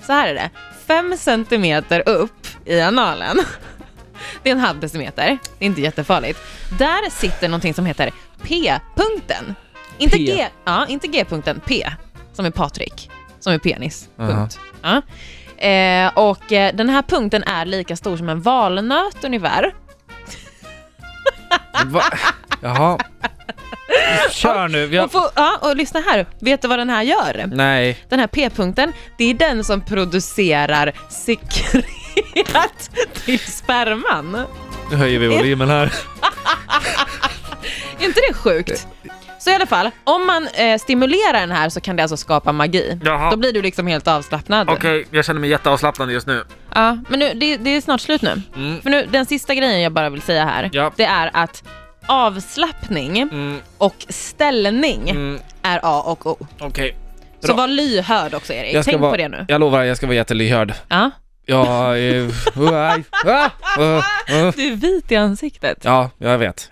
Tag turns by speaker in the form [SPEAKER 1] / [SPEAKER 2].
[SPEAKER 1] Så här är det, 5 centimeter upp i analen. Det är en halv decimeter, det är inte jättefarligt. Där sitter någonting som heter P-punkten. Inte
[SPEAKER 2] P.
[SPEAKER 1] G, ja, inte G-punkten, P, som är Patrik, som är penis.
[SPEAKER 2] Aha.
[SPEAKER 1] Punkt. Ja. Eh, och eh, den här punkten är lika stor som en valnöt ungefär.
[SPEAKER 2] Va? Jaha. Kör nu.
[SPEAKER 1] Och,
[SPEAKER 2] Jag...
[SPEAKER 1] få, ja, och lyssna här, vet du vad den här gör?
[SPEAKER 2] Nej.
[SPEAKER 1] Den här p-punkten, det är den som producerar sekret till sperman.
[SPEAKER 2] Nu höjer vi volymen här.
[SPEAKER 1] Är inte det sjukt? Så i alla fall, om man eh, stimulerar den här så kan det alltså skapa magi.
[SPEAKER 2] Jaha.
[SPEAKER 1] Då blir du liksom helt avslappnad.
[SPEAKER 2] jag känner mig jätteavslappnad just nu.
[SPEAKER 1] Ja, men nu, det, det är snart slut nu.
[SPEAKER 2] Mm.
[SPEAKER 1] För nu, den sista grejen jag bara vill säga här,
[SPEAKER 2] Ja.
[SPEAKER 1] det är att avslappning
[SPEAKER 2] Mm,
[SPEAKER 1] och ställning
[SPEAKER 2] mm,
[SPEAKER 1] är A och O.
[SPEAKER 2] Okej.
[SPEAKER 1] Så
[SPEAKER 2] Bra.
[SPEAKER 1] var lyhörd också Erik,
[SPEAKER 2] Jag ska
[SPEAKER 1] tänk
[SPEAKER 2] vara-
[SPEAKER 1] på det nu.
[SPEAKER 2] Jag lovar, jag ska vara jättelyhörd.
[SPEAKER 1] Ja.
[SPEAKER 2] Ja, eh, ah, ah, ah.
[SPEAKER 1] Du är vit i ansiktet.
[SPEAKER 2] ja, jag vet.